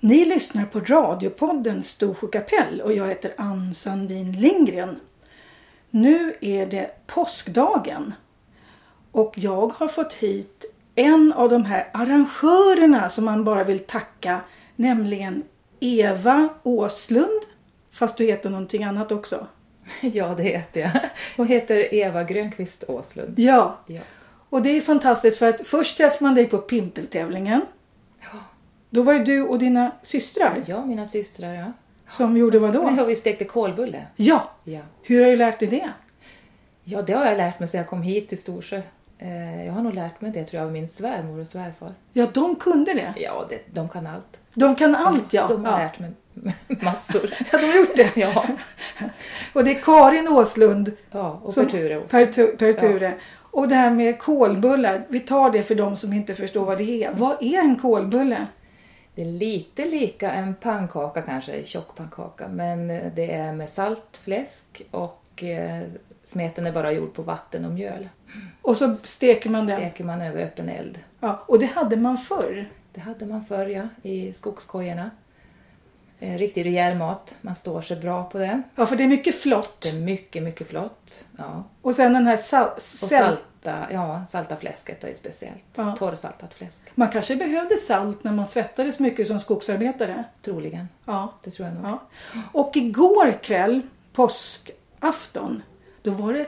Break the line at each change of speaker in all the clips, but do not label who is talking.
Ni lyssnar på radiopodden Storsjö kapell och jag heter Ann Sandin Lindgren. Nu är det påskdagen och jag har fått hit en av de här arrangörerna som man bara vill tacka, nämligen Eva Åslund, fast du heter någonting annat också.
Ja, det heter jag. Hon heter Eva Grönqvist Åslund.
Ja,
Ja.
och det är fantastiskt för att först träffade man dig på pimpeltävlingen. Då var det du och dina systrar
Ja, mina systrar, ja.
som gjorde vad då?
Ja, vi stekte kolbulle.
Ja,
Ja.
hur har du lärt dig det?
ja, det har jag lärt mig sedan jag kom hit till Storsjö. Eh, Jag har nog lärt mig det tror jag av min svärmor och svärfar.
Ja, de kunde det.
Ja, det, de kan allt.
De kan allt ja.
De har
ja.
lärt mig massor.
Ja, de har gjort det.
Ja,
Och det är Karin Åslund
ja och
som-
Perture också.
Per, Tu- per Ture. Och det här med kolbullar, vi tar det för de som inte förstår vad det är. Vad är en kolbulle?
Det är lite lika en pannkaka kanske, tjock pannkaka. Men eh, det är med salt, fläsk och eh, smeten är bara gjord på vatten och mjöl.
Och så steker man den.
Steker man över öppen eld.
Ja, och det hade man förr.
Det hade man förr ja, i skogskojorna. Eh, Riktigt rejäl mat. Man står sig bra på den.
Ja, för det är mycket flott.
Det är mycket, mycket flott. Ja.
Och sen den här sal-
Och
säl-
salta, ja, salta fläsket då är speciellt.
Ja.
Torrsaltat fläsk,
Man kanske behövde salt när man svettades mycket som skogsarbetare.
troligen.
Ja.
Det tror jag nog.
ja. Och igår kväll, påskafton, då var det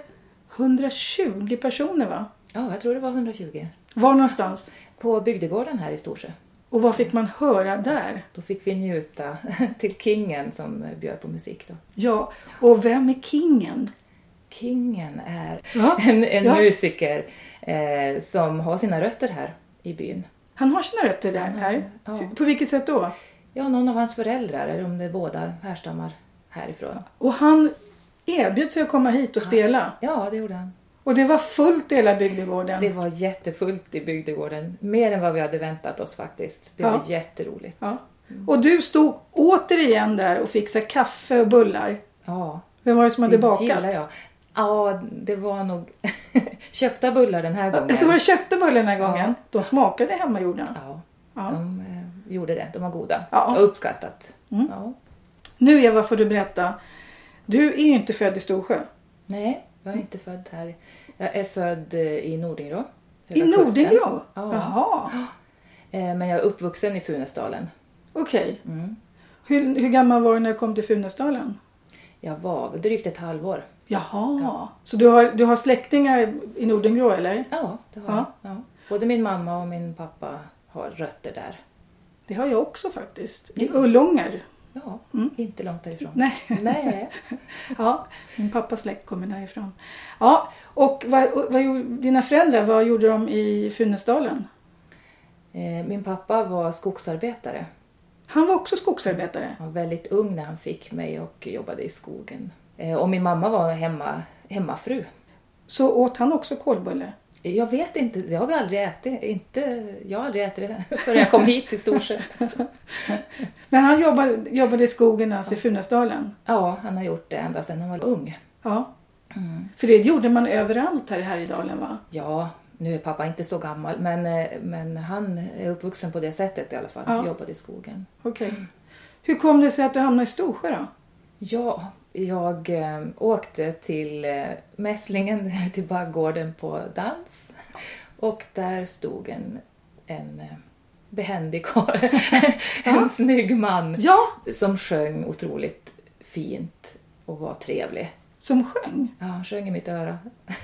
120 personer va?
Ja, jag tror det var 120.
Var någonstans?
På bygdegården här i Storsjö.
Och vad fick man höra där?
Då fick vi njuta till kingen som eh, bjöd på musik då.
Ja, och vem är kingen?
Kingen är
Ja,
en, en
ja.
musiker eh, som har sina rötter här i byn.
Han har sina rötter där?
Ja,
Här.
ja.
På vilket sätt då?
Ja, någon av hans föräldrar, eller om det båda härstammar härifrån.
Och han erbjöd sig att komma hit och spela.
Ja, det gjorde han.
Och det var fullt i hela bygdegården.
Det var jättefullt i bygdegården. Mer än vad vi hade väntat oss faktiskt. Det
Ja.
var jätteroligt.
Ja. Och du stod återigen där och fixade kaffe och bullar.
ja
Vem var det som hade
det
bakat?
gillar jag. Ja, det var nog köpta bullar den här gången.
Så Alltså, var det köpte bullar den här
Ja.
gången. De smakade hemmagjorda.
Ja,
Ja.
de eh, gjorde det. De var goda.
Ja. Mm.
Och uppskattat. Ja.
Nu Eva får du berätta. Du är ju inte född i Storsjö.
Nej, jag är inte född här. Jag är född eh, i Nordingrå.
I
Höga kusten.
Nordingrå?
Ja.
Jaha,
Eh, Men jag är uppvuxen i Funäsdalen.
okej.
Mm.
Hur, hur gammal var du när du kom till Funäsdalen?
Jag var väl drygt ett halvår.
Jaha, så du har, du har släktingar i Nordengrå eller?
Ja, det har
Ja.
jag. Ja. Både min mamma och min pappa har rötter där.
Det har jag också faktiskt. I Ullånger.
Ja, inte långt därifrån.
Mm. Nej.
Nej.
Ja, min pappas släkt kommer därifrån. Ja, och vad, och vad gjorde dina föräldrar? Vad gjorde de i Funäsdalen?
Eh, Min pappa var skogsarbetare.
Han var också skogsarbetare.
Han var väldigt ung när han fick mig och jobbade i skogen. Eh, Och min mamma var hemma, hemmafru.
Så åt han också kolbulle?
Jag vet inte, det har vi aldrig ätit. Inte, jag har aldrig ätit det förrän jag kom hit till Storsjö.
Men han jobbade, jobbade i skogen alltså i Funäsdalen?
Ja, han har gjort det ända sedan han var ung.
Ja.
Mm.
För det gjorde man överallt här, här i dalen va?
Ja, nu är pappa inte så gammal, men, eh, men han är uppvuxen på det sättet i alla fall.
Ja.
Jobbade i skogen.
Okej.
Mm.
Hur kom det sig att du hamnade i Storsjö då?
Ja, jag eh, åkte till eh, Mässlingen, till Baggården på dans. Och där stod en, en eh, behändig karl, en snygg man
Ja,
som sjöng otroligt fint och var trevlig.
som sjöng.
Ja, han sjöng i mitt öra.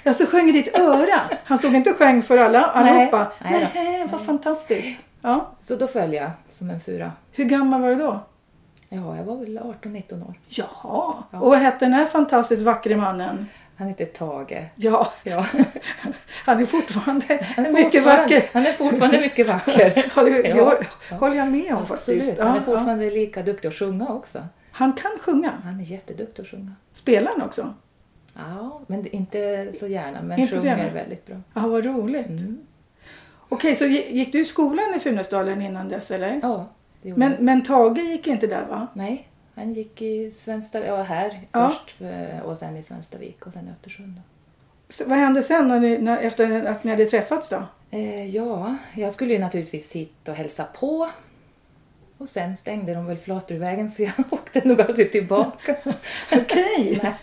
Alltså sjöng i ditt öra. Han stod inte och sjöng för alla, allihopa.
Nej, nej
Nej,
då.
vad fantastiskt. Ja.
Så då föll jag som en fura.
Hur gammal var du då?
Ja, jag var väl 18-19 år.
Jaha. Och vad hette den här fantastiskt vackre mannen?
Han heter Tage.
Ja,
Ja.
han är fortfarande
Han är
mycket
fortfarande-
vacker.
Han är fortfarande mycket vacker.
Ja, det, det
Ja,
håller jag med om faktiskt.
Absolut.
Ja,
Han är
ja.
fortfarande lika duktig att sjunga också.
Han kan sjunga.
Han är jätteduktig att sjunga.
Spelar han också?
Ja, men det- inte så gärna. Men
Inte så
sjunger
gärna.
väldigt bra.
Ja, vad roligt.
Mm.
Okej, så gi- gick du i skolan i Funäsdalen innan dess eller?
Ja, det gjorde
Men,
han.
men Tage gick inte där va?
Nej, han gick i Svenstavik. Ja, här
Ja.
först. eh, Och sen i Svenstavik och sen i Östersund. då.
Så vad hände sen när ni, när, efter att ni hade träffats då?
Eh, ja, jag skulle ju naturligtvis hit och hälsa på. Och sen stängde de väl Flaturvägen för jag åkte nog aldrig tillbaka.
Okej!
Nej.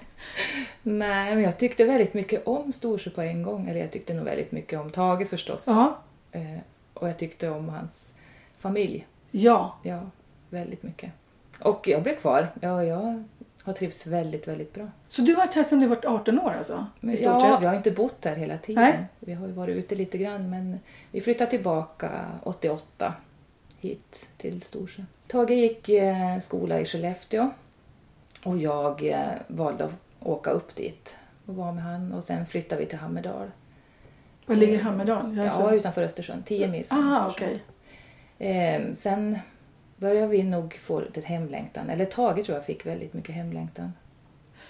Nej, men jag tyckte väldigt mycket om Storsjö på en gång. Eller jag tyckte nog väldigt mycket om Tage förstås.
Ja.
Eh, och jag tyckte om hans familj.
Ja.
Ja, väldigt mycket. Och jag blev kvar. Ja, jag har trivts väldigt, väldigt bra.
Så du har varit här sedan du var 18 år alltså? I stort
ja,
sett?
vi har inte bott där hela tiden.
Nej.
Vi har ju varit ute lite grann men vi flyttade tillbaka 88 hit till Storsjö. Tage gick eh, skola i Skellefteå och jag eh, valde att åka upp dit och vara med han och sen flyttade vi till Hammerdal.
Var ligger Hammerdal? Jag
Ja,
så-
utanför Östersund, 10 mil från
ah,
Östersund.
okej.
Eh, sen började vi nog få lite hemlängtan, eller Tage tror jag fick väldigt mycket hemlängtan.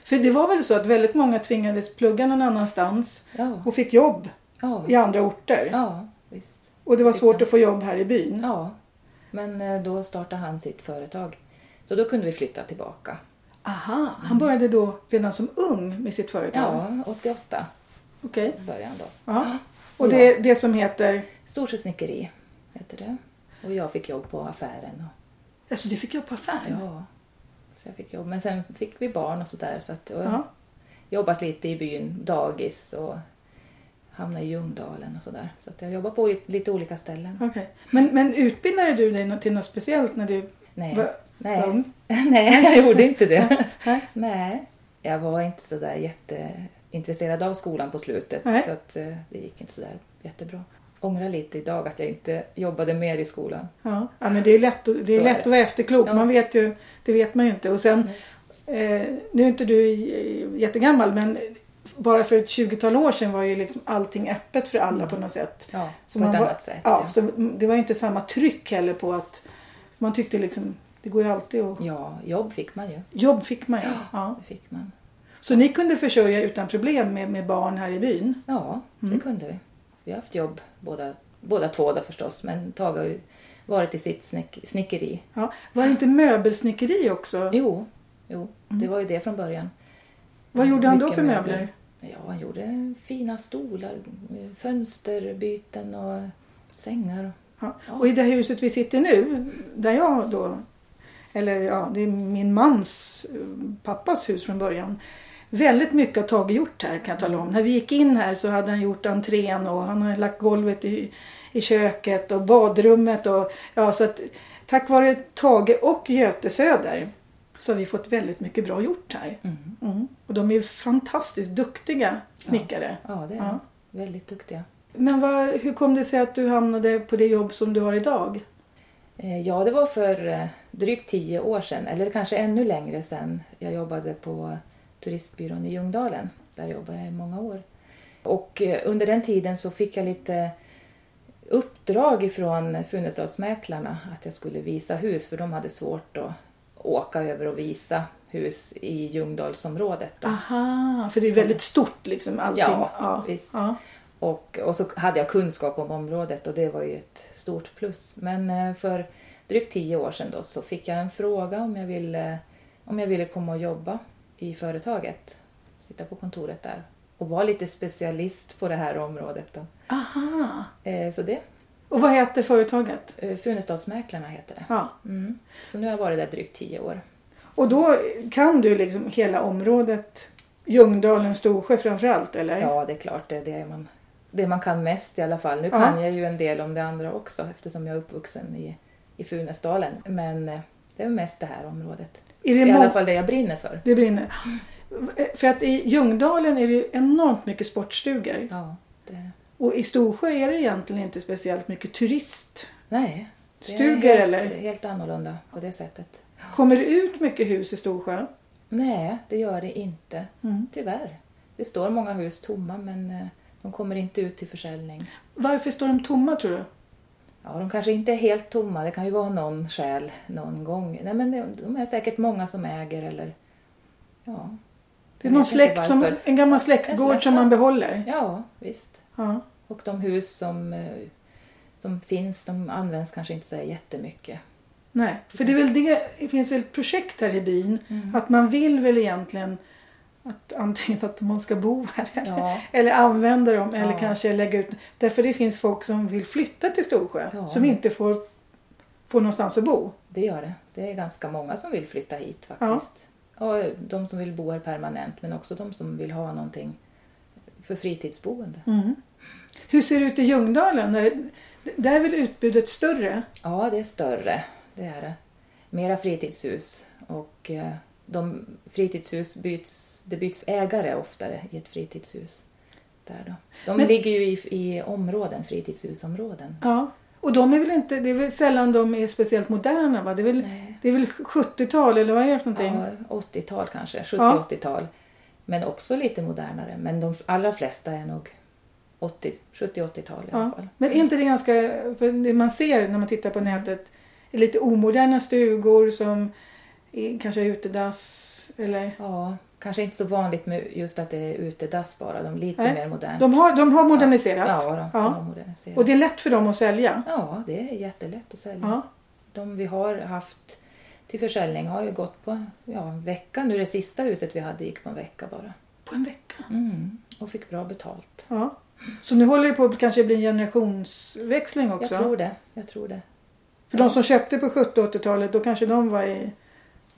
För det var väl så att väldigt många tvingades plugga någon annanstans
Ja,
och fick jobb
ja,
i andra orter.
ja visst.
Och det var
Fick
svårt
de.
att få jobb här i byn.
Ja, men eh, då startade han sitt företag. Så då kunde vi flytta tillbaka.
Aha, han började då redan som ung med sitt företag?
Ja, 88
Okej.
började han då.
Ja. Och det, det som heter...
Storsjö snickeri heter det. Och jag fick jobb på affären. Och,
Alltså det fick jag på affären?
ja, så jag fick jobb. Men sen fick vi barn och sådär. Så att, och jag
Ja.
jobbat lite i byn, dagis och hamnade i Ljungdalen och sådär. Så att jag jobbar på i- lite olika ställen.
Okej. Men, men utbildade du dig nå- till något speciellt när du
Nej,
var var
nej.
ung?
nej jag gjorde inte det.
Nej.
Nej, jag var inte så där jätteintresserad av skolan på slutet
Nej.
så att eh, det gick inte så där jättebra. Ångrar lite idag att jag inte jobbade mer i skolan.
Ja. ja, men det är lätt, att- det är
Så är
lätt
det.
att vara efterklok.
Ja.
Man vet ju, det vet man ju inte. Och sen, eh, nu är inte du j- jättegammal men bara för ett 20-tal år sedan var ju liksom allting öppet för alla på något sätt.
Ja,
Så
på ett
man var-
annat sätt.
Ja,
Ja.
Så det var ju inte samma tryck heller på att man tyckte liksom, det går ju alltid att...
ja, jobb fick man ju.
Jobb fick man ju. Ja.
Det fick man.
Så ni kunde försörja utan problem med, med barn här i byn?
Ja,
Mm.
det kunde vi. Vi har haft jobb båda, båda två då förstås men Tage har ju varit i sitt snick, snickeri.
Ja. Var det inte möbelsnickeri också?
Jo, jo
Mm.
det var ju det från början.
Vad gjorde han då
Mycket
för möbler?
Ja, han gjorde fina stolar, fönsterbyten och sängar.
Ja. Och i det här huset vi sitter nu, där jag då, eller ja, det är min mans eh, pappas hus från början. Väldigt mycket har Tage gjort här kan jag tala om. När vi gick in här så hade han gjort entrén och han har lagt golvet i, i köket och badrummet och ja, så att tack vare Tage och Göte Söder så har vi fått väldigt mycket bra gjort här. Mm. Och de är ju fantastiskt duktiga snickare.
Ja, det är
Ja.
de. Väldigt duktiga.
Men vad, hur kom det sig att du hamnade på det jobb som du har idag?
Eh, Ja, det var för eh, drygt tio år sedan, eller kanske ännu längre sedan. Jag jobbade på turistbyrån i Ljungdalen. Där jobbade jag i många år. Och eh, under den tiden så fick jag lite uppdrag ifrån Funestadsmäklarna att jag skulle visa hus, för de hade svårt att åka över och visa hus i Ljungdalsområdet. då.
Aha, för det är väldigt stort liksom allting.
Ja, visst.
Ja.
Och, och så hade jag kunskap om området och det var ju ett stort plus. Men eh, för drygt tio år sedan då så fick jag en fråga om jag ville, om jag ville komma och jobba i företaget. Sitta på kontoret där och vara lite specialist på det här området. Då.
Aha.
Eh, Så det,
Och vad heter företaget?
eh, Funestadsmäklarna heter det.
Ja.
Mm. Så nu har jag varit där drygt tio år.
Och då kan du liksom hela området, Ljungdalen, Storsjö framförallt eller?
Ja, det är klart, det är det man, det man kan mest i alla fall. Nu
Ja.
kan jag ju en del om det andra också eftersom jag är uppvuxen i, i Funäsdalen. Men eh, det är mest det här området.
Är det
I
må-
alla fall det jag brinner för.
Det brinner. För att i Ljungdalen är det ju enormt mycket sportstugor.
Ja, det är det.
Och i Storsjö är det egentligen inte speciellt mycket turist.
Nej. det är
Stugor,
helt,
eller?
Helt annorlunda på det sättet.
Kommer det ut mycket hus i Storsjö?
Nej, det gör det inte.
Mm.
Tyvärr. Det står många hus tomma men eh, de kommer inte ut till försäljning.
Varför står de tomma tror du?
Ja, de kanske inte är helt tomma. Det kan ju vara någon själ någon gång. Nej, men det- de är säkert många som äger eller... Ja,
Det är
Jag
någon
vet inte
släkt som,
varför.
en gammal
En
släktgård
släkt,
som man
ja.
behåller.
ja visst.
Ja.
Och de hus som, eh, som finns, de används kanske inte så jättemycket.
Nej, för det, är väl det, det finns väl ett projekt här i byn
Mm.
att man vill väl egentligen att antingen att man ska bo här eller,
Ja.
eller använda dem eller
Ja.
kanske lägga ut. Därför det finns folk som vill flytta till Storsjö
Ja.
som inte får få någonstans att bo.
Det gör det. Det är ganska många som vill flytta hit faktiskt. Och de som vill bo här permanent men också de som vill ha någonting för fritidsboende.
Mm. Hur ser det ut i Ljungdalen? Är det- Där är väl utbudet större?
Ja, det är större. Det är det. Mera fritidshus. Och eh, de fritidshus byts, det byts ägare oftare i ett fritidshus. Där då. De
Men-
ligger ju i, i områden, fritidshusområden.
Ja. Och de är väl inte, det är väl sällan de är speciellt moderna va? Det är väl,
Nej.
det är väl 70-tal eller vad är det för någonting?
Ja, 80-tal kanske,
Ja.
70-80-tal. Men också lite modernare. Men de allra flesta är nog 80, 70-80-tal i alla
Ja.
fall.
Men är inte det ganska, för det man ser när man tittar på nätet, är lite omoderna stugor som är, kanske är utedass eller?
Ja, kanske inte så vanligt med just att det är utedass bara. De är lite
Nej.
mer moderna.
De har, de har moderniserat
Ja, Mm. de,
Ja.
de har moderniserat.
och det är lätt för dem att sälja.
Ja, det är jättelätt att sälja.
Ja.
De vi har haft till försäljning har ju gått på ja, en vecka. Nu det sista huset vi hade gick på en vecka bara.
På en vecka.
Mm. Och fick bra betalt.
Ja. Så nu håller det på att kanske bli en generationsväxling också?
Jag tror det. Jag tror det.
För de som köpte på 70 och 80-talet då kanske de var i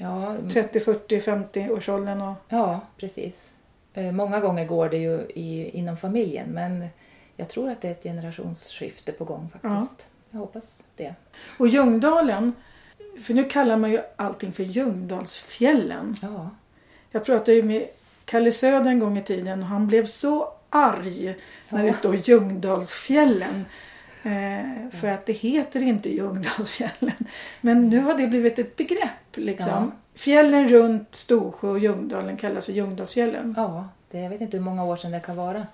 Ja, mm,
30, 40, 50 årsåldern och
ja precis. Eh, Många gånger går det ju i, inom familjen men jag tror att det är ett generationsskifte på gång faktiskt. Jag hoppas det.
Och Ljungdalen, för nu kallar man ju allting för Ljungdalsfjällen.
Ja,
Jag pratade ju med Kalle Söder en gång i tiden och han blev så arg när det
Ja.
står Ljungdalsfjällen. Eh, för att det heter inte Ljungdalsfjällen. Men nu har det blivit ett begrepp liksom. Fjällen runt Storsjö och Ljungdalen kallas för Ljungdalsfjällen.
ja det, jag vet inte hur många år sedan det kan vara.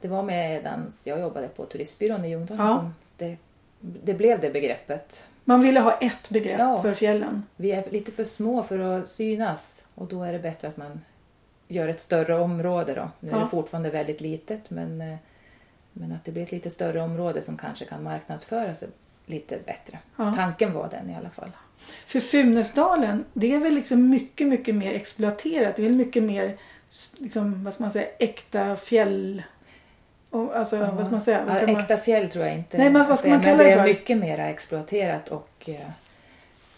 Det var medan jag jobbade på turistbyrån i Ljungdalen
Ja.
som det, det blev det begreppet.
Man ville ha ett begrepp
Ja.
för fjällen.
Vi är lite för små för att synas och då är det bättre att man gör ett större område. Då. Nu är
Ja.
det fortfarande väldigt litet men, eh, men att det blir ett lite större område som kanske kan marknadsföra sig lite bättre.
Ja.
Tanken var den i alla fall.
För Funäsdalen, det är väl liksom mycket, mycket mer exploaterat. Det är väl mycket mer, s- liksom, vad ska man säga, äkta fjäll... Och, alltså, vad ska man säga? Vad
Ja,
kan man-
äkta fjäll tror jag inte
Nej, men vad
att
ska
det är,
man kalla
Men
det
det är
för?
mycket mer exploaterat och eh,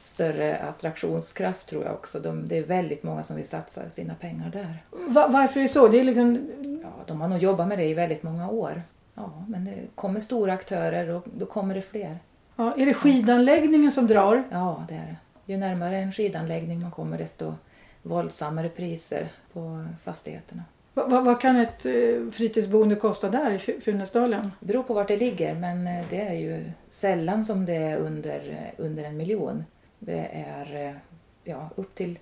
större attraktionskraft tror jag också. De, det är väldigt många som vill satsa sina pengar där.
Va, varför är det så? Det är liksom...
Ja, de har nog jobbat med det i väldigt många år. Ja, men det kommer stora aktörer och då kommer det fler.
Ja, är det skidanläggningen som drar?
Ja, det är det. Ju närmare en skidanläggning man kommer desto våldsammare priser på fastigheterna.
Va, va, vad kan ett eh, fritidsboende kosta där i Fu- Funäsdalen?
Det beror på vart det ligger men eh, det är ju sällan som det är under, eh, under en miljon. Det är eh, ja, upp till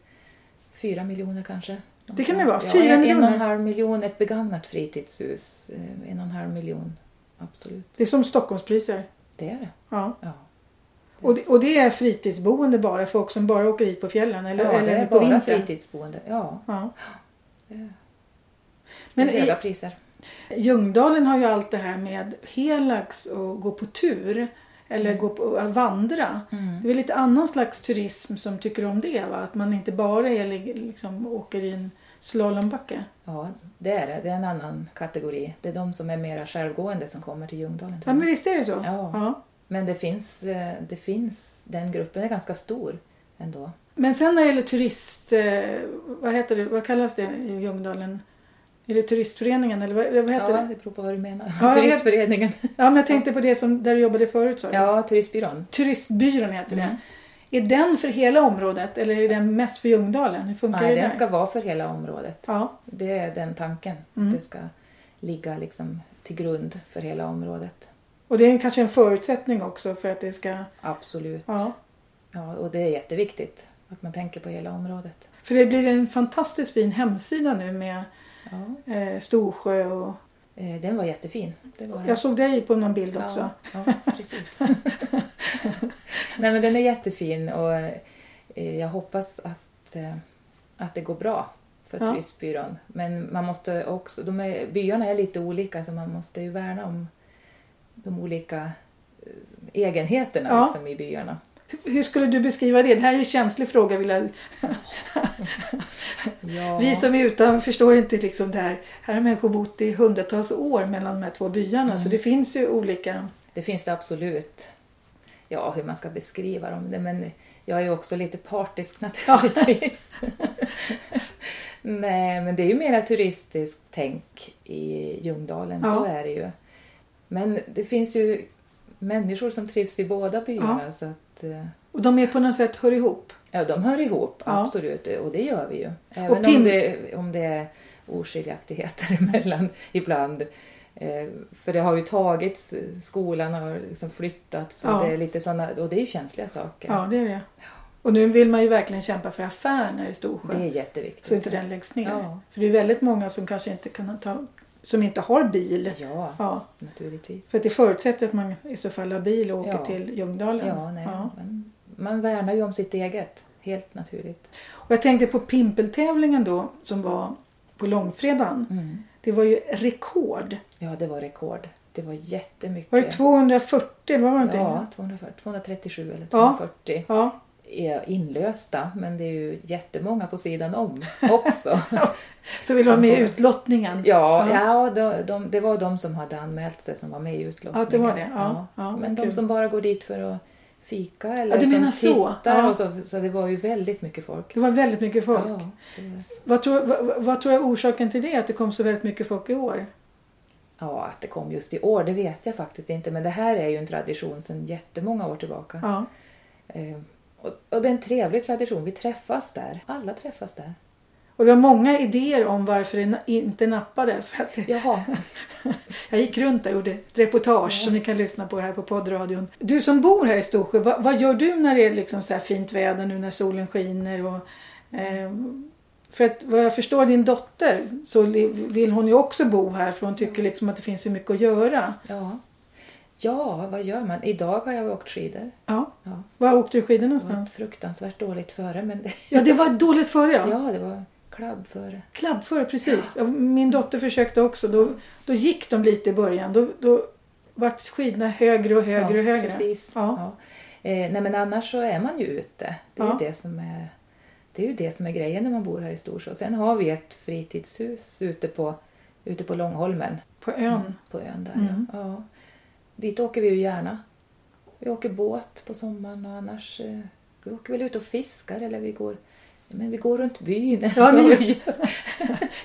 fyra miljoner kanske.
Det kan det
Någonstans.
vara, fyra
en, En och en
miljoner.
halv miljon, ett begagnat fritidshus. eh, En och en halv miljon, absolut.
Det är som Stockholmspriser.
Det är det.
Ja.
Ja.
Och, det, och det är fritidsboende bara, folk som bara åker hit på fjällen eller,
ja, det
eller
är
på
bara
vintern?
fritidsboende. Ja,
Ja.
det
Men
det är höga
i,
priser.
Ljungdalen har ju allt det här med helax och gå på tur eller
Mm.
gå på, att vandra. Det är väl lite annan slags turism som tycker om det va? Att man inte bara är, li- liksom, åker i en slalombacke.
Ja, det är det. Det är en annan kategori. Det är de som är mera självgående som kommer till Ljungdalen.
Ja
tror jag.
men visst är det så?
Ja. Men det finns, eh, det finns, den gruppen är ganska stor ändå.
Men sen när det gäller turist... Eh, vad heter det? Vad kallas det i Ljungdalen? Är det turistföreningen eller vad, vad
Ja,
heter det?
det beror på vad du menar.
Ja, jag vet.
Turistföreningen.
Ja men jag tänkte på det som, där du jobbade förut sa du.
Ja, turistbyrån.
Turistbyrån heter
Mm.
det. Är den för hela området eller är den mest för Ljungdalen? Hur funkar
Nej,
det där?
den ska vara för hela området.
Ja.
Det är den tanken.
Mm.
Det ska ligga liksom till grund för hela området.
Och det är kanske en förutsättning också för att det ska...
Absolut.
Ja.
Ja, och det är jätteviktigt att man tänker på hela området.
För det blir en fantastiskt fin hemsida nu med
Ja.
eh, Storsjö och...
Eh, Den var jättefin. Det var den.
Jag såg dig på någon bild också.
Ja, ja precis. Nej, men den är jättefin och eh, jag hoppas att, eh, att det går bra för
Ja.
turistbyrån. Men man måste också, de är, byarna är lite olika så man måste ju värna om de olika eh, egenheterna
Ja.
liksom, i byarna.
Hur- Hur skulle du beskriva det? Det här är ju en känslig fråga vill jag
Ja.
Vi som är utan förstår inte liksom det här. Här har människor bott i
Mm.
hundratals år mellan de här två byarna så det finns ju olika.
Det finns det absolut. ja, hur man ska beskriva dem. Det- Men jag är ju också lite partisk naturligtvis. Nej, men det är ju mera turistiskt tänk i Ljungdalen, så
Ja.
är det ju. Men det finns ju människor som trivs i båda byarna så att eh,
Och de är på något sätt hör ihop.
ja, de hör ihop,
Ja.
absolut. Och det gör vi ju. Även
Pim-
om, det, om det är oskiljaktigheter emellan ibland. Eh, För det har ju tagits, skolan har liksom flyttats och
Ja.
det är lite sådana, och det är ju känsliga saker.
Ja, det är det. Och nu vill man ju verkligen kämpa för affärerna i
Det
Storsjö.
är jätteviktigt.
Så inte den läggs ner.
Ja.
För det är väldigt många som kanske inte kan ta, som inte har bil.
Ja,
Ja,
naturligtvis.
för att det förutsätter att man i så fall har bil och åker
Ja.
till Ljungdalen.
Ja, nej.
Ja.
Men man värnar ju om sitt eget. Helt naturligt.
Och jag tänkte på pimpeltävlingen då som var på långfredagen.
Mm.
Det var ju rekord.
Ja, det var rekord. Det var jättemycket.
Var det 240? Vad var det någonting?
Ja, 240, 237 eller
Ja.
240
Ja.
är inlösta. Men det är ju jättemånga på sidan om också.
Så vill du vara med i utlottningen?
Ja,
Ja.
ja de, de, det var de som hade anmält sig som var med i utlottningen.
Ja, det var det. Ja, ja,
Men de
kul.
som bara går dit för att fika eller
Ja, du menar
som
så.
tittar.
Ja.
Och så, så det var ju väldigt mycket folk.
Det var väldigt mycket folk.
Ja, det,
Vad, tror, vad, vad tror jag är orsaken till det? Att det kom så väldigt mycket folk i år?
ja, att det kom just i år, det vet jag faktiskt inte. Men det här är ju en tradition sedan jättemånga år tillbaka.
Ja.
Eh, och, och det är en trevlig tradition. Vi träffas där. Alla träffas där.
Och det var många idéer om varför det na- inte nappade. För att det,
Jaha.
jag gick runt där och gjorde ett reportage som ni kan lyssna på här på poddradion. Du som bor här i Storsjö, vad, vad gör du när det är liksom så här fint väder nu när solen skiner? Och, eh, för att vad jag förstår din dotter så li- vill hon ju också bo här för hon
Mm.
tycker liksom att det finns så mycket att göra.
Ja. ja, vad gör man? Idag har jag åkt skidor.
Ja.
Ja,
Var åkte du skidor
det var
någonstans?
fruktansvärt dåligt före, men det,
Ja, det var dåligt före ja.
ja, det var klabb före.
Klabb före, precis. Ja, Min dotter försökte också. Då, då gick de lite i början. Då, då vart skidorna högre och högre
ja,
och högre.
Precis.
Ja.
Ja. Eh, nej, men annars så är man ju ute. Det är,
Ja.
ju det, som är, det är ju det som är grejen när man bor här i Storsjö. Sen har vi ett fritidshus ute på, ute på Långholmen.
På ön.
på ön där.
Mm.
Ja. Ja. Dit åker vi ju gärna. Vi åker båt på sommaren och annars eh, vi åker väl ut och fiskar eller vi går, men vi går runt byn.
Ja, ni
vi
gör-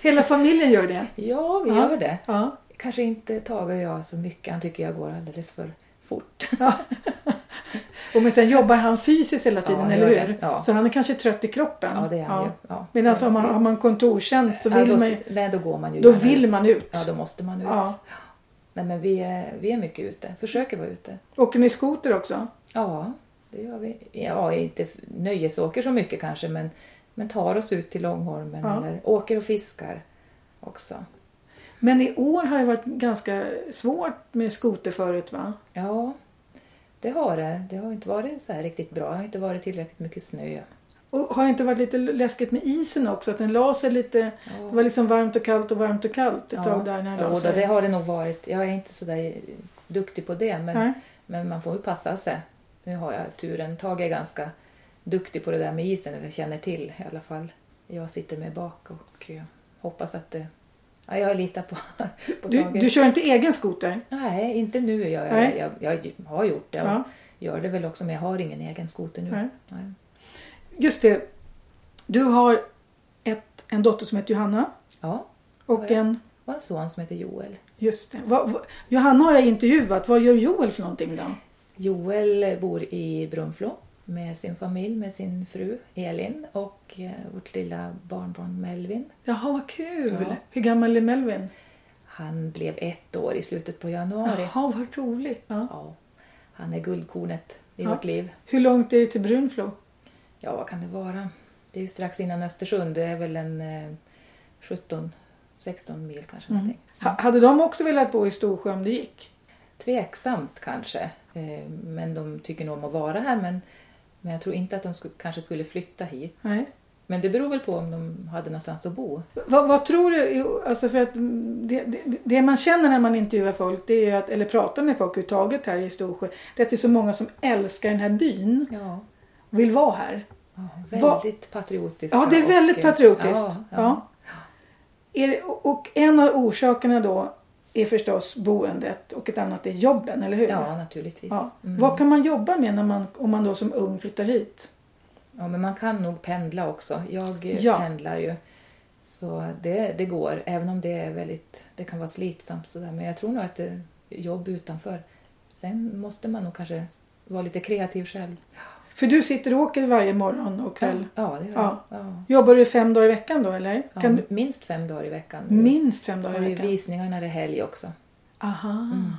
Hela familjen gör det.
ja, vi
Ja.
gör det.
Ja.
Kanske inte Tage och jag så mycket. Han tycker jag går alldeles för fort.
Och men sen jobbar han fysiskt hela tiden,
Ja, han
eller
gör
hur?
det. Ja.
Så han är kanske trött i kroppen.
Ja, det är han
Ja.
ju. Ja.
Medan om man har man kontorstjänst så vill
ja, då,
man ju,
Nej, då går man ju
då
gärna
vill
ut.
man ut.
Ja, då måste man ut.
Ja.
Nej, men vi är, vi är mycket ute. Försöker vara ute.
Åker ni skoter också?
Ja, det gör vi. Ja, inte f- nöjesåker så mycket kanske, men, men tar oss ut till Långholmen
Ja.
eller åker och fiskar också.
Men i år har det varit ganska svårt med skoter förut va?
Ja, det har det. Det har inte varit så här riktigt bra. Det har inte varit tillräckligt mycket snö.
Och har det inte varit lite läskigt med isen också? Att den la sig lite...
Ja.
Det var liksom varmt och kallt och varmt och kallt ett
Ja.
tag där när den
Jo,
la
då,
sig.
det har det nog varit. Jag är inte så där duktig på det, men,
Nej.
men man får ju passa sig. Nu har jag turen. Tage är ganska duktig på det där med isen, eller känner till i alla fall. Jag sitter med bak och eh, hoppas att det... Ja, jag litar på, på
Du,
Tage.
du kör inte egen skoter?
Nej, inte nu. Jag,
Nej.
jag, jag, jag har gjort det och
Ja.
gör det väl också, men jag har ingen egen skoter nu.
Nej.
Nej.
Just det. Du har ett, en dotter som heter Johanna
Ja,
och
Ja, ja.
en...
och en son som heter Joel.
Just det. Vad- vad- Johanna har jag intervjuat. Vad gör Joel för någonting då?
Joel bor i Brunflo med sin familj, med sin fru Elin och eh, vårt lilla barnbarn Melvin.
Jaha, vad kul!
Ja.
Hur gammal är Melvin?
Han blev ett år i slutet på januari.
Jaha, vad roligt! Ja.
Ja, han är guldkornet i
Ja.
vårt liv.
Hur långt är det till Brunflo?
Ja, vad kan det vara? Det är ju strax innan Östersund. Det är väl en eh, 17-16 mil kanske. någonting.
Ha, hade de också velat bo i Storsjö om det gick?
Tveksamt kanske. Eh, Men de tycker nog om att vara här. Men, men jag tror inte att de sku, kanske skulle flytta hit.
Nej.
Men det beror väl på om de hade någonstans att bo.
Vad, vad tror du, alltså för att mm, det, det, det man känner när man intervjuar folk, det är ju att, eller pratar med folk överhuvudtaget här i Storsjö, det är att det är så många som älskar den här byn
Ja.
och vill vara här. Va-
väldigt patriotiskt.
Ja, det är väldigt patriotiskt.
Ja, ja.
Är det, och en av orsakerna då är förstås boendet och ett annat är jobben, eller hur?
Ja, naturligtvis.
Ja.
Mm.
Vad kan man jobba med när man, om man då som ung flyttar hit?
Ja, men man kan nog pendla också. Jag eh,
Ja.
pendlar ju. Så det, det går, även om det är väldigt, det kan vara slitsamt sådär. Men jag tror nog att det är jobb utanför. Sen måste man nog kanske vara lite kreativ själv.
För du sitter och åker varje morgon och kväll.
Ja, det gör
Ja.
jag. Ja.
Jobbar du fem dagar i veckan då eller?
Ja, Mm.
Kan du,
Minst fem dagar i veckan.
minst fem dagar
och
i
i
veckan?
visningarna är det helg också.
Aha.
Mm.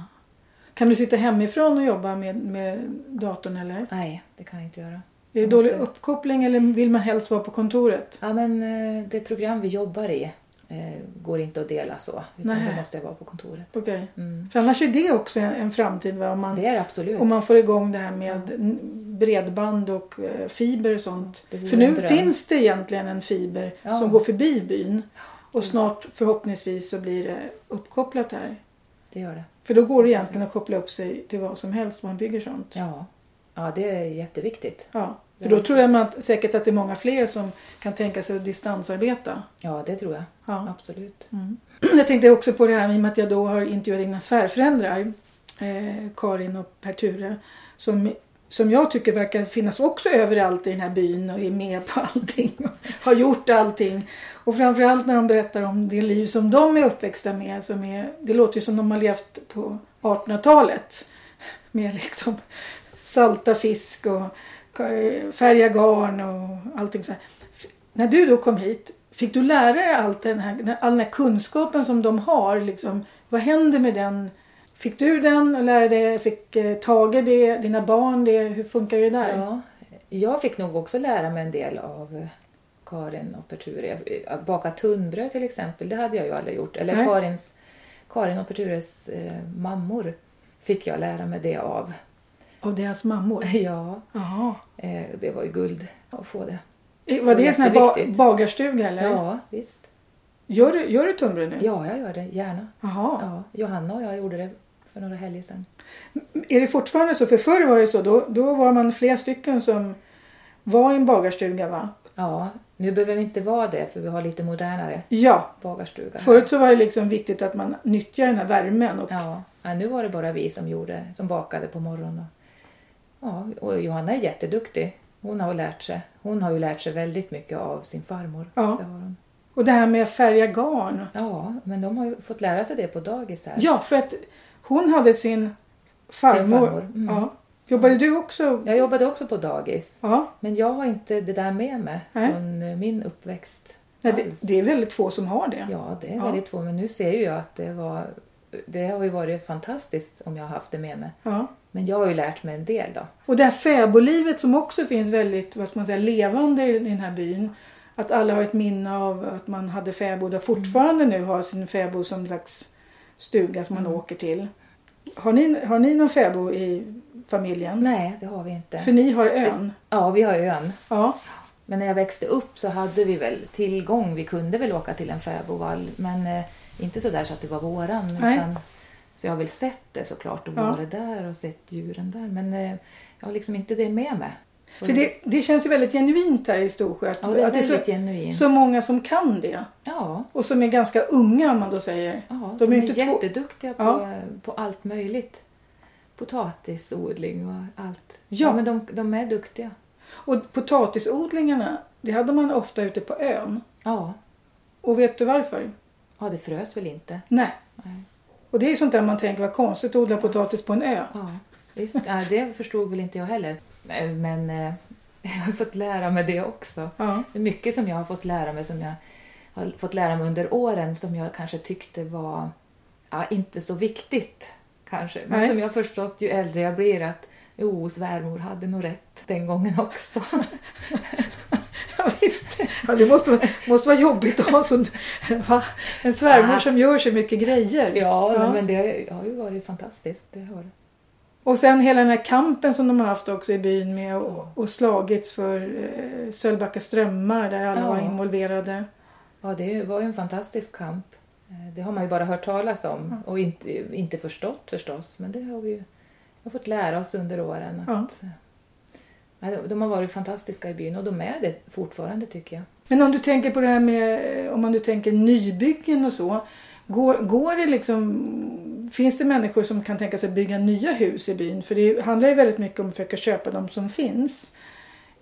Kan du sitta hemifrån och jobba med, med datorn eller?
Nej, det kan jag inte göra.
Är det
Jag
dålig
måste-
uppkoppling eller vill man helst vara på kontoret?
Ja, men eh, det program vi jobbar i eh, går inte att dela så. Utan
Nej.
då måste jag vara på kontoret.
Okej.
Mm.
För annars är det också en, en framtid va? Om man,
Det är det absolut.
om man får igång det här med n- bredband och eh, fiber och sånt.
Det vore
För nu
en dröm.
finns det egentligen en fiber
Ja. typ.
som går förbi byn. Och snart förhoppningsvis så blir det uppkopplat här.
Det gör det.
För då går det egentligen att koppla upp sig till vad som helst om man bygger sånt.
Ja. ja, det är jätteviktigt.
Ja. För då tror jag man, säkert att det är många fler som kan tänka sig att distansarbeta.
Ja, det tror jag.
Ja. Mm.
Absolut.
Jag tänkte också på det här i och med att jag då har intervjuat dina svärföräldrar eh, Karin och Per-Ture som, som jag tycker verkar finnas också överallt i den här byn och är med på allting och har gjort allting. Och framförallt när de berättar om det liv som de är uppväxta med. Som är, det låter ju som de har levt på 1800-talet med liksom salta fisk och eh, färga garn och allting så här. F- När du då kom hit, fick du lära dig allt den här, all den här kunskapen som de har? Liksom, vad händer med den? Fick du den och lärde dig? Fick eh, Tage det? Dina barn det? Hur funkar det där?
Ja, jag fick nog också lära mig en del av eh, Karin och Perture. Eh, Att baka tunnbröd till exempel, det hade jag ju aldrig gjort. Eller
Nej.
Karins, Karin och Pertures eh, mammor fick jag lära mig det av.
Av deras mammor?
Ja,
Jaha.
eh, det var ju guld att få det.
Eh, Var det en sån här ba-
Jätteviktigt.
bagarstuga eller?
Ja, visst.
Gör, du- gör du tunnbröd nu?
Ja, jag gör det. Gärna.
Jaha.
Ja, Johanna och jag gjorde det för några helger sedan.
Är det fortfarande så? För förr var det så. Då, då var man flera stycken som var i en bagarstuga va?
Ja, nu behöver vi inte vara det för vi har lite modernare
Ja.
bagarstuga. här.
Förut så var det liksom viktigt att man nyttjar den här värmen. Och,
Ja, ja, nu var det bara vi som gjorde, som bakade på morgonen. Ja, och Johanna är jätteduktig. Hon har lärt sig. Hon har ju lärt sig väldigt mycket av sin farmor.
Ja.
Det har hon.
och det här med att färga garn.
ja men de har ju fått lära sig det på dagis här.
Ja, för att hon hade sin farmor.
Sin farmor, mm.
Ja. Jobbade du också?
Jag jobbade också på dagis,
Ja.
men jag har inte det där med mig
Nej.
från eh, min uppväxt.
Nej,
alls.
det, det är väldigt få som har det.
Ja, det är
Ja.
väldigt få, men nu ser ju jag att det var... Det har ju varit fantastiskt om jag har haft det med mig.
Ja.
Men jag har ju lärt mig en del då.
Och det här fäbodlivet som också finns väldigt vad ska man säga, levande i den här byn. Att alla har ett minne av att man hade fäbod och fortfarande nu har sin fäbod som slags stuga som man
Mm.
åker till. Har ni, har ni någon fäbod i familjen?
Nej, det har vi inte.
För ni har ön?
Ja, vi har ju ön.
Ja.
Men när jag växte upp så hade vi väl tillgång. Vi kunde väl åka till en fäbodvall, men eh, inte så där så att det var våran.
Nej.
Utan, så jag har väl sett det såklart och
Ja.
varit där och sett djuren där. Men eh, jag har liksom inte det med mig. Och-
För det, det känns ju väldigt genuint här i Storsjö. Att,
ja, det är
att det är
väldigt
så,
genuint.
så många som kan det.
ja,
Och som är ganska unga om man då säger.
ja,
De är
de,
ju
är,
inte två-
jätteduktiga på,
Ja.
på allt möjligt. Potatisodling och allt.
Ja.
men de, de är duktiga.
Och potatisodlingarna, det hade man ofta ute på ön.
Ja.
Och vet du varför?
ja, det frös väl inte.
Nej.
Nej.
Och det är sånt där man tänker, vad konstigt att odla potatis på en ö.
Ja, visst. Ja, det förstod väl inte jag heller. Eh, Men eh, jag har fått lära mig det också.
Ja.
Det är mycket som jag har fått lära mig som jag har fått lära mig under åren som jag kanske tyckte var ja, inte så viktigt. Kanske. Men
Nej.
som jag har förstått ju äldre jag blir att jo, svärmor hade nog rätt den gången också.
Ja, visst. Ja, det måste, vara- måste vara jobbigt att ha sån, va? en svärmor
Ah.
som gör så mycket grejer.
ja,
Ja.
men det har ju varit fantastiskt. Det har det.
Och sen hela den här kampen som de har haft också i byn med och, och slagits för eh, Sölvbacka strömmar där alla
Ja.
var involverade.
Ja, det var ju en fantastisk kamp. Eh, Det har man ju bara hört talas om och inte, inte förstått förstås. Men det har vi ju vi har fått lära oss under åren. Att, ja. de- De har varit fantastiska i byn och de är det fortfarande tycker jag.
Men om du tänker på det här med, eh, om man nu tänker nybyggen och så. Går, går det liksom, finns det människor som kan tänka sig att bygga nya hus i byn? För det handlar ju väldigt mycket om att försöka köpa de som finns.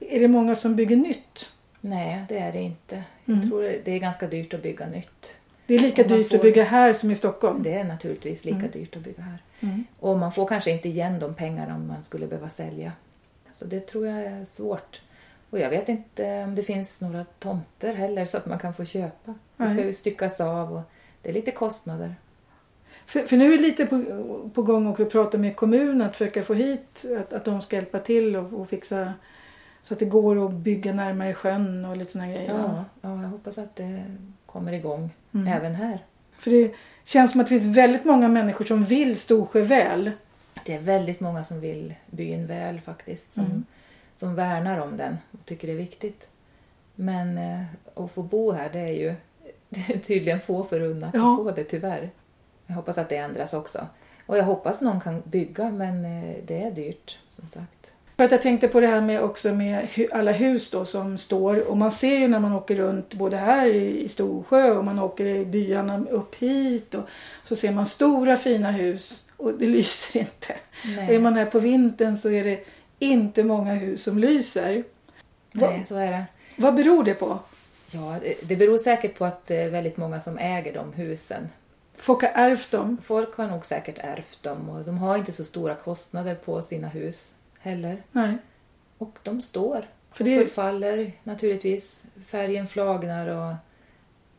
Är det många som bygger nytt?
Nej, Mm. det är det inte. Jag tror det är ganska dyrt att bygga nytt.
Det är lika
Om man
dyrt
får-
att bygga här som i Stockholm. Mm.
Det är naturligtvis lika dyrt att bygga här. Och man får kanske inte igen de pengarna om man skulle behöva sälja. Så det tror jag är svårt. Och jag vet inte om det finns några tomter heller så att man kan få köpa. Det ska
Nej.
ju styckas av och det är lite kostnader.
För, för nu är det lite på, på gång också att prata med kommunen att försöka få hit att, att de ska hjälpa till och, och fixa så att det går att bygga närmare sjön och lite sådana grejer. Mm. va?
Ja, ja, jag hoppas att det kommer igång även här.
För det känns som att det finns väldigt många människor som vill Storsjö väl.
Det är väldigt många som vill byn väl faktiskt. Som,
Mm.
som värnar om den och tycker det är viktigt. Men eh, att få bo här det är ju det är tydligen få förunnat
Ja.
att få det tyvärr. Jag hoppas att det ändras också. Och jag hoppas någon kan bygga men eh, det är dyrt som sagt.
För att jag tänkte på det här med också med hu- alla hus då som står och man ser ju när man åker runt både här i i Storsjö och man åker i byarna upp hit och så ser man stora fina hus och det lyser inte.
Nej.
Är man här på vintern så är det inte många hus som lyser. Vad-
Nej, så är det.
Vad beror det på?
Ja, det, det beror säkert på att det är väldigt många som äger de husen.
Folk har ärvt dem.
Folk har nog säkert ärvt dem och de har inte så stora kostnader på sina hus heller.
Nej.
Och de står.
För
För
det-
Förfaller naturligtvis. Färgen flagnar och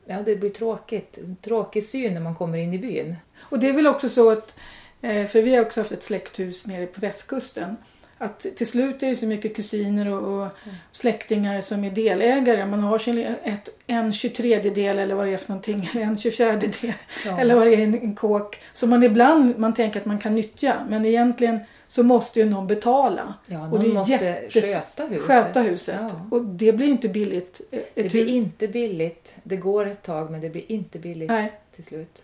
ja, det blir tråkigt. En tråkig syn när man kommer in i byn.
Och det är väl också så att, eh, för vi har också haft ett släkthus nere på västkusten, att till slut är det så mycket kusiner och, och släktingar som är delägare. Man har sin, ett, en 23 del eller vad det är för någonting, eller en 24 del
Ja.
eller vad det är i en, en kåk. Som man ibland man tänker att man kan nyttja, men egentligen så måste ju någon betala.
Ja,
och
någon
det är
måste
jättes-
sköta huset.
sköta huset.
Ja.
Och det blir ju inte billigt. eh,
Det
ett
blir
hus.
inte billigt. Det går ett tag men det blir inte billigt
Nej.
till slut.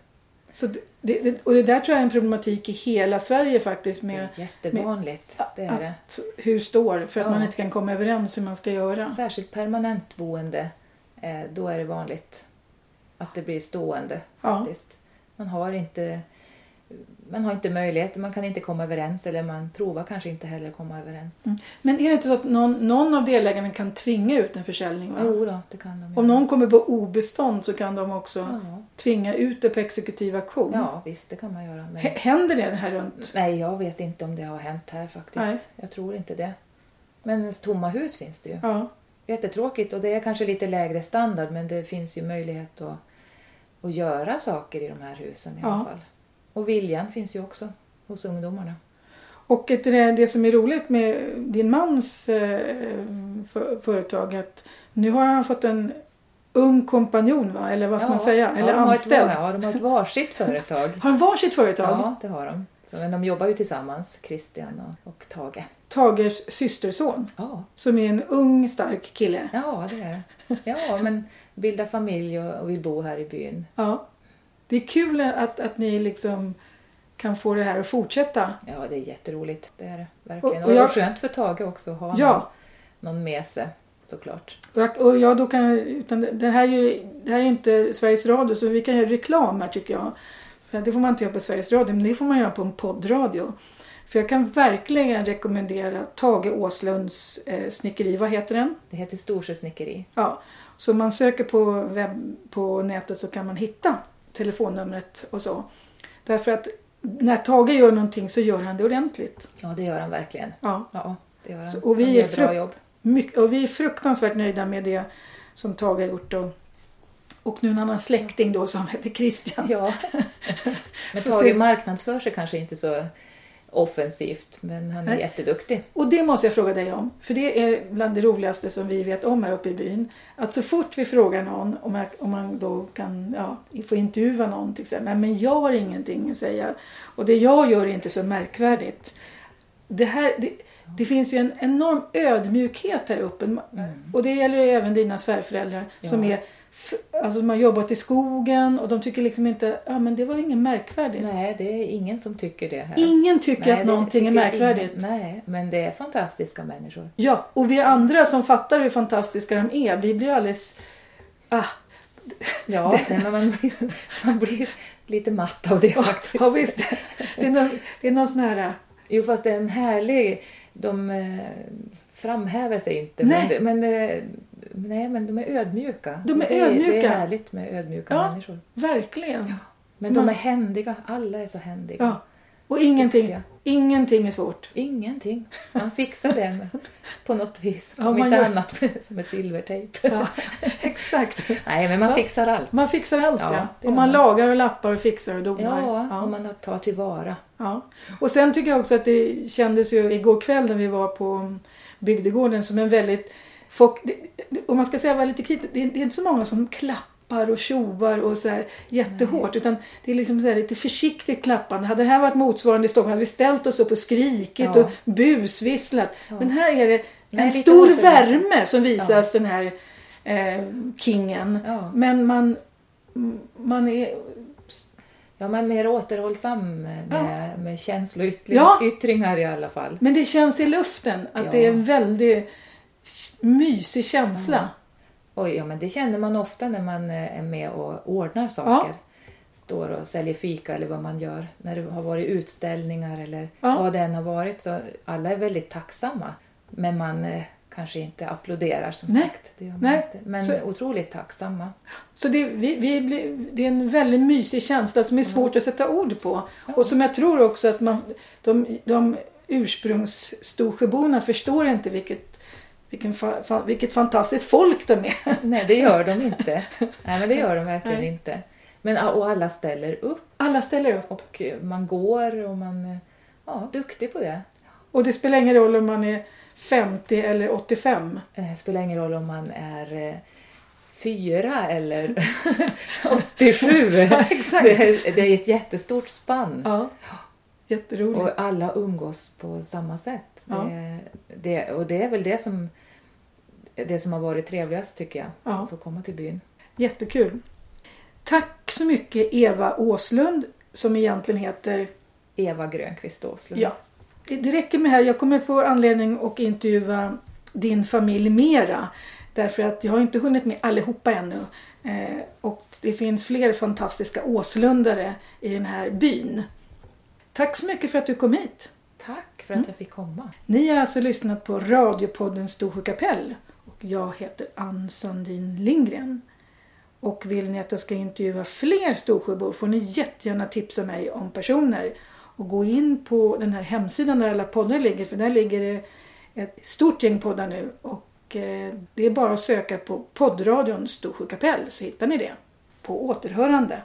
Så det, det, det- och det där tror jag är en problematik i hela Sverige faktiskt
Det
med
är jättevanligt. Det är det.
att hus står för att
Mm. Ja.
man inte kan komma överens hur man ska göra.
Särskilt permanentboende, eh, då är det vanligt att det blir stående.
Ja.
faktiskt. Man, har inte, man har inte möjlighet, man kan inte komma överens eller man provar kanske inte heller att komma överens.
Mm. Men är det inte så att någon, någon av delägarna kan tvinga ut en försäljning? Va?
Jo då, det kan de
Om
göra.
någon kommer på obestånd så kan de också
Ja.
tvinga ut det på exekutiv auktion.
ja, visst det kan man göra. Men...
H- Händer det här runt?
Nej, jag vet inte om det har hänt här faktiskt.
Nej.
Jag tror inte det. Men tomma hus finns det ju.
Ja.
Jättetråkigt och det är kanske lite lägre standard men det finns ju möjlighet att, att göra saker i de här husen i
Ja.
alla fall. Och viljan finns ju också hos ungdomarna.
Och ett, det det som är roligt med din mans eh, för, företag är att nu har han fått en ung kompanjon, va? eller vad ska man säga? Eller
ja, de har ett
anställd.
var- Ja, de har ett varsitt företag.
Har de varsitt företag?
ja, det har de. Så, men de jobbar ju tillsammans, Christian och, och Tage.
Tagers systerson.
Ja.
Som är en ung stark kille.
ja, det är det. Ja, men bildar familj och, och vill bo här i byn.
Ja. Det är kul att, att ni liksom kan få det här att fortsätta.
Ja, det är jätteroligt. Det är det verkligen.
Och-
Och,
och
det är
jag-
skönt för Tage också att ha
Ja,
någon, någon med sig såklart.
och jag, och jag då kan, utan det, det här är ju, det här är ju inte Sveriges Radio så vi kan göra reklam här tycker jag. För det får man inte göra på Sveriges Radio men det får man göra på en poddradio. För jag kan verkligen rekommendera Tage Åslunds eh, snickeri, vad heter den?
Det heter Storsjö snickeri.
Ja, så man söker på, webb, på nätet så kan man hitta telefonnumret och så. Därför att när Tage gör någonting så gör han det ordentligt.
Ja, det gör han verkligen.
Ja.
Ja, det gör han.
Så- och vi
han
är
gör bra
frukt-
jobb.
Mycket, och vi är fruktansvärt nöjda med det som Tage har gjort. Och, och nu en annan släkting då som heter Christian.
Ja. men
Så
Tage
ser-
marknadsför sig kanske inte så offensivt, men han är
Nej.
jätteduktig.
Och det måste jag fråga dig om. För det är bland det roligaste som vi vet om här uppe i byn. Att så fort vi frågar någon om, jag, om man då kan ja, få intervjua någon till exempel. Men jag har ingenting att säga. Och det jag gör är inte så märkvärdigt. Det, här, det, det finns ju en enorm ödmjukhet här uppe. Och det gäller ju även dina svärföräldrar som
Mm. Ja.
är f- Alltså de har jobbat i skogen och de tycker liksom inte, ja men det var ju inget märkvärdigt.
Nej, det är ingen som tycker det här.
Ingen tycker
Nej,
att
det
någonting är
tycker
märkvärdigt.
ingen. Nej, men det är fantastiska människor.
Ja, och vi andra som fattar hur fantastiska de är, vi blir ju alldeles... Ah,
Ja, nej, men man, blir, man blir lite matt av det faktiskt.
Ja, visst. Det är någon, det är någon sån här...
Jo, fast det är en härlig... De eh, framhäver sig inte.
Nej.
Men, men, eh, nej, men de är ödmjuka.
De är
det, Det
ödmjuka.
är härligt med ödmjuka
Ja.
människor.
Verkligen.
Men
Så
de
man-
är händiga. Alla är så händiga.
Ja. Och ingenting,
Duktiga.
ingenting är svårt.
Ingenting. Man fixar det med, på något vis.
Ja,
Om
man
inte
gör-
annat med, som med silvertejp.
Ja, exakt.
Nej, men man
Ja.
fixar allt.
Man fixar allt
Ja,
ja.
det
Och
gör
man
man.
lagar och lappar och fixar och donar.
Ja,
Ja.
om man tar tillvara.
Ja. Och sen tycker jag också att det kändes ju igår kväll när vi var på bygdegården som en väldigt... Folk, det, det- om man ska säga vara lite kritisk, det, är- det är inte så många som klappar och tjoar och så här jättehårt utan det är liksom så här lite försiktigt klappande. Hade det här varit motsvarande i Stockholm hade vi ställt oss upp och skrikit
Ja.
och busvisslat. Men här är det en
Nej, lite
stor
återhämtning.
värme som visas den här eh, kingen.
Ja.
Men man, man är...
Ja, man är mer återhållsam med, med
Ja.
känsloyttringar i alla fall.
Men det känns i luften att
Ja.
det är en väldigt mysig känsla.
Och, ja, men det känner man ofta när man eh, är med och ordnar saker.
Ja.
Står och säljer fika eller vad man gör. När det har varit utställningar eller
Ja.
vad det än har varit. Så alla är väldigt tacksamma. Men man eh, kanske inte applåderar som
Nej.
sagt. Det gör man
Nej.
inte. Men
Så-
otroligt tacksamma.
Så det, vi, vi blir, det är en väldigt mysig känsla som är svårt att sätta ord på. Och som jag tror också att man, de, de ursprungsstorsjöborna förstår inte vilket, vilken fa, fa, vilket fantastiskt folk de är.
Nej, det gör de inte. Nej, men det gör de verkligen
Nej.
inte. Men, och alla ställer upp
Alla ställer upp.
och eh, man går och man eh, ja, duktig på det.
Och det spelar ingen roll om man är 50 eller 85.
Eh, spelar ingen roll om man är eh, fyra eller 87.
Ja, exakt.
Det, är, det är ett jättestort spann.
Ja, jätteroligt.
Och alla umgås på samma sätt.
Ja.
Det, det, och det är väl det som, det som har varit trevligast tycker jag.
Ja.
Att få komma till byn.
Jättekul. Tack så mycket Eva Åslund som egentligen heter
Eva Grönqvist Åslund.
Ja. Det, det räcker med det här. Jag kommer få anledning att intervjua din familj mera. Därför att jag har inte hunnit med allihopa ännu. Eh, och det finns fler fantastiska åslundare i den här byn. Tack så mycket för att du kom hit.
Tack för att
Mm.
jag fick komma.
Ni har alltså lyssnat på radiopodden Storsjö kapell. Och jag heter Ann Sandin Lindgren. Och vill ni att jag ska intervjua fler Storsjöbor får ni jättegärna tipsa mig om personer. Och gå in på den här hemsidan där alla poddar ligger för där ligger det ett stort gäng poddar nu. Och eh, det är bara att söka på poddradion Storsjö kapell så hittar ni det. På återhörande.